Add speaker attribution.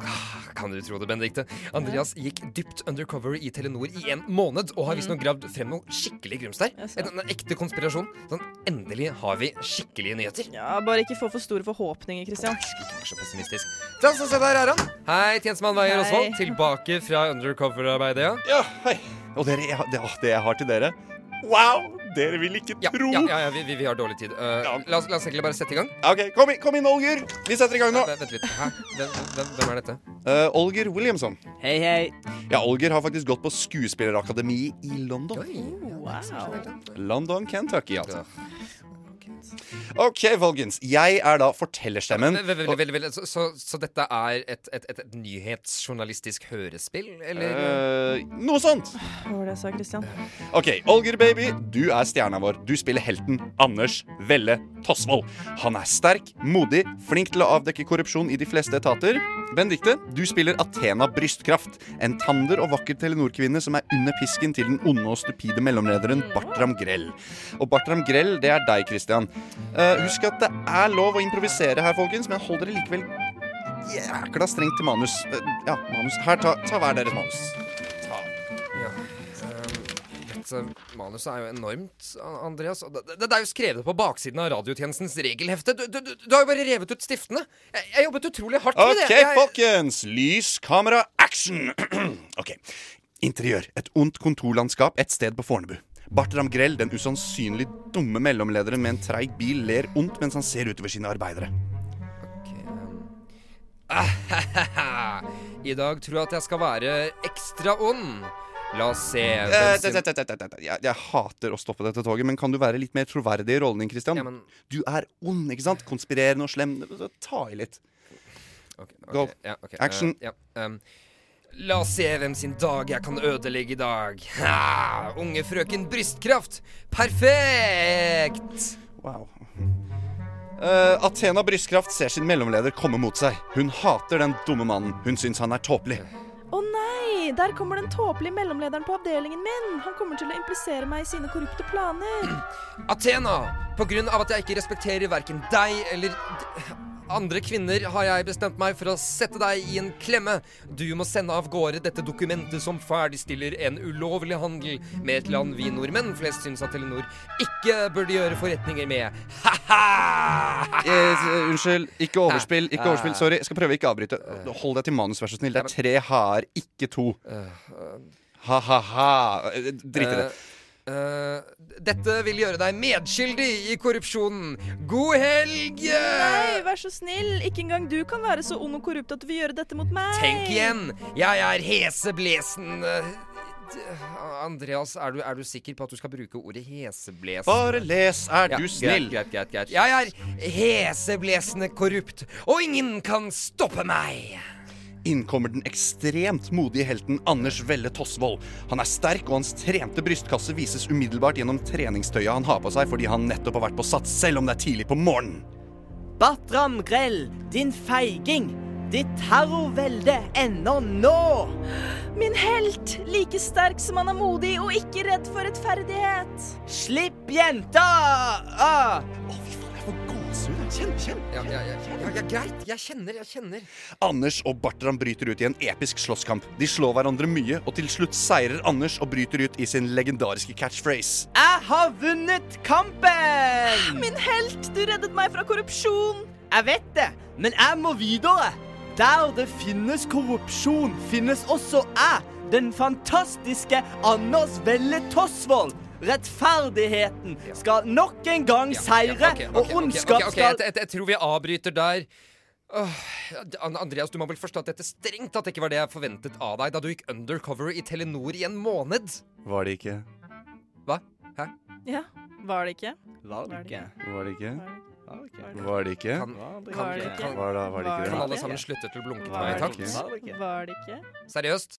Speaker 1: Ah, Kan du tro det, Benedikte? Andreas gikk dypt undercover i Telenor i en måned og har visstnok gravd frem noe skikkelig grums der.
Speaker 2: Jeg Mm. så.
Speaker 1: En, en ekte konspirasjon. Sånn, endelig har vi skikkelige nyheter.
Speaker 2: Ja, Bare ikke få for store forhåpninger, Christian.
Speaker 1: Ikke vær så pessimistisk. Sånn, så se der er han. Hei, tjenestemann Veier
Speaker 2: Hei.
Speaker 1: Osvold. Tilbake fra undercover-arbeidet, ja.
Speaker 3: Ja, hei. Og dere, jeg, har- det, å, det jeg har til dere Wow! Dere vil ikke
Speaker 1: Ja,
Speaker 3: tro!
Speaker 1: ja, ja, ja vi, vi, vi har dårlig tid. Eh,
Speaker 3: Ja.
Speaker 1: la, oss, la oss egentlig bare sette i gang.
Speaker 3: Ok, kom, inn- kom inn, Olger. Vi setter i gang nå.
Speaker 1: Vent- Vent litt. Hæ? Hvem, hvem, hvem er dette?
Speaker 3: Eh, Olger Williamson.
Speaker 4: Hei, hei.
Speaker 3: Ja, Olger har faktisk gått på skuespillerakademi i London.
Speaker 1: Oi.
Speaker 2: Wow.
Speaker 3: London, Kentucky, altså. OK, folkens. Jeg er da fortellerstemmen.
Speaker 1: Ve- ve- ve- ve- ve- Så, så, så dette er et, et, et, et nyhetsjournalistisk hørespill, eller?
Speaker 3: Eh, noe sånt.
Speaker 2: Hva var det jeg sa, Christian?
Speaker 3: OK, Olger baby, du er stjerna vår. Du spiller helten Anders Velle Tosvold. Han er sterk, modig, flink til å avdekke korrupsjon i de fleste etater. Benedicte, du spiller Athena Brystkraft, en tander og vakker Telenor-kvinne som er under pisken til den onde og stupide mellomlederen Bartram Grell. Og Bartram Grell, det er deg, Christian. Eh, husk at det er lov å improvisere her, folkens, men hold dere likevel jækla strengt til manus. Eh, ja, manus. Her, ta, ta hver deres manus. Ta.
Speaker 1: Ja. eh, Dette manuset er jo enormt, An- Andreas. og Det, det, det er jo skrevet på baksiden av radiotjenestens regelhefte. Du, du, du, du har jo bare revet ut stiftene. Jeg, jeg jobbet utrolig hardt med
Speaker 3: Ok,
Speaker 1: det. Jeg-
Speaker 3: folkens. Lys, kamera, action! ok. Interiør. Et ondt kontorlandskap et sted på Fornebu. Bartram Grell, den usannsynlig dumme mellomlederen med en treig bil, ler ondt mens han ser utover sine arbeidere.
Speaker 1: Ok, um. Ah, I dag tror jeg at jeg skal være ekstra ond. La oss se.
Speaker 3: Eh,
Speaker 1: bensin-
Speaker 3: det- det- det- det- det- Jeg, jeg hater å stoppe dette toget, men kan du være litt mer troverdig i rollen din, Christian?
Speaker 1: Ja, men-
Speaker 3: Du er ond, ikke sant? Konspirerende og slem. Ta i litt.
Speaker 1: Ok, ok,
Speaker 3: Go.
Speaker 1: ja, ok,
Speaker 3: Action.
Speaker 1: eh, ja, ehm, la oss se hvem sin dag jeg kan ødelegge i dag. Ha, unge frøken Brystkraft. Perfekt!
Speaker 3: Wow. Eh, Athena Brystkraft ser sin mellomleder komme mot seg. Hun hater den dumme mannen. Hun syns han er tåpelig.
Speaker 2: Å nei! Der kommer den tåpelige mellomlederen på avdelingen min! Han kommer til å implisere meg i sine korrupte planer.
Speaker 1: Athena, på grunn av at jeg ikke respekterer verken deg eller d- andre kvinner, har jeg bestemt meg for å sette deg i en klemme. Du må sende av gårde dette dokumentet som ferdigstiller en ulovlig handel med et land vi nordmenn flest syns at Telenor ikke burde gjøre forretninger med. Ha-ha!
Speaker 3: Eh, unnskyld. Ikke overspill. Ikke overspill, Sorry. Jeg skal prøve å ikke avbryte.
Speaker 1: Eh.
Speaker 3: Hold deg til manus, vær så snill. Det er tre ha-er, ikke to. Ha-ha-ha. Drit i det.
Speaker 1: Eh, eh, dette vil gjøre deg medskyldig i korrupsjonen. God helg!
Speaker 2: Nei, vær så snill! Ikke engang du kan være så ond og korrupt at du vil gjøre dette mot meg!
Speaker 1: Tenk igjen! Jeg er heseblesen. Eh, d- Andreas, er du, er du sikker på at du skal bruke ordet heseblesen?
Speaker 3: Bare les, er
Speaker 1: Ja,
Speaker 3: du snill.
Speaker 1: Greit, greit, greit, greit. Jeg er heseblesende korrupt, og ingen kan stoppe meg!
Speaker 3: Innkommer den ekstremt modige helten Anders Velle Tosvold. Han er sterk, og hans trente brystkasse vises umiddelbart gjennom treningstøyet han har på seg fordi han nettopp har vært på sats, selv om det er tidlig på morgenen.
Speaker 4: Bartram Grell, din feiging. Ditt terrorvelde ender nå.
Speaker 2: Min helt! Like sterk som han er modig og ikke redd for rettferdighet.
Speaker 4: Slipp jenta! Ah.
Speaker 3: Å, fy faen, jeg får gåsehud. Kjenn, kjenn.
Speaker 1: Ja, ja, ja, ja, ja, greit. Jeg kjenner, jeg kjenner.
Speaker 3: Anders og Bartram bryter ut i en episk slåsskamp. De slår hverandre mye, og til slutt seirer Anders og bryter ut i sin legendariske catchphrase.
Speaker 4: Jeg har vunnet kampen!
Speaker 2: Min helt! Du reddet meg fra korrupsjon!
Speaker 4: Jeg vet det, men jeg må videre. Der det finnes korrupsjon, finnes også jeg. Den fantastiske Anders Velle Tosvold. Rettferdigheten skal nok en gang seire,
Speaker 1: ok, ok,
Speaker 4: og
Speaker 1: ok,
Speaker 4: ondskap
Speaker 1: ok, ok,
Speaker 4: skal
Speaker 1: jeg, jeg, jeg tror vi avbryter der. Åh, An- Andreas, du må vel forstå at dette strengt tatt ikke var det jeg forventet av deg da du gikk undercover i Telenor i en måned.
Speaker 3: Var det ikke?
Speaker 1: Hva? Hæ?
Speaker 2: Ja, var det ikke?
Speaker 4: Var
Speaker 2: det ikke?
Speaker 3: Var det ikke?
Speaker 4: Var det ikke?
Speaker 3: Var det ikke?
Speaker 1: Kan,
Speaker 2: Var det
Speaker 1: kan,
Speaker 2: ikke?
Speaker 1: kan,
Speaker 3: Var det, var det
Speaker 2: Var
Speaker 3: ikke
Speaker 1: kan
Speaker 3: det?
Speaker 1: alle sammen slutte til å blunke til
Speaker 3: Nei,
Speaker 1: meg?
Speaker 3: takk.
Speaker 1: Takk.
Speaker 4: Var det ikke?
Speaker 2: Var det ikke?
Speaker 1: Seriøst?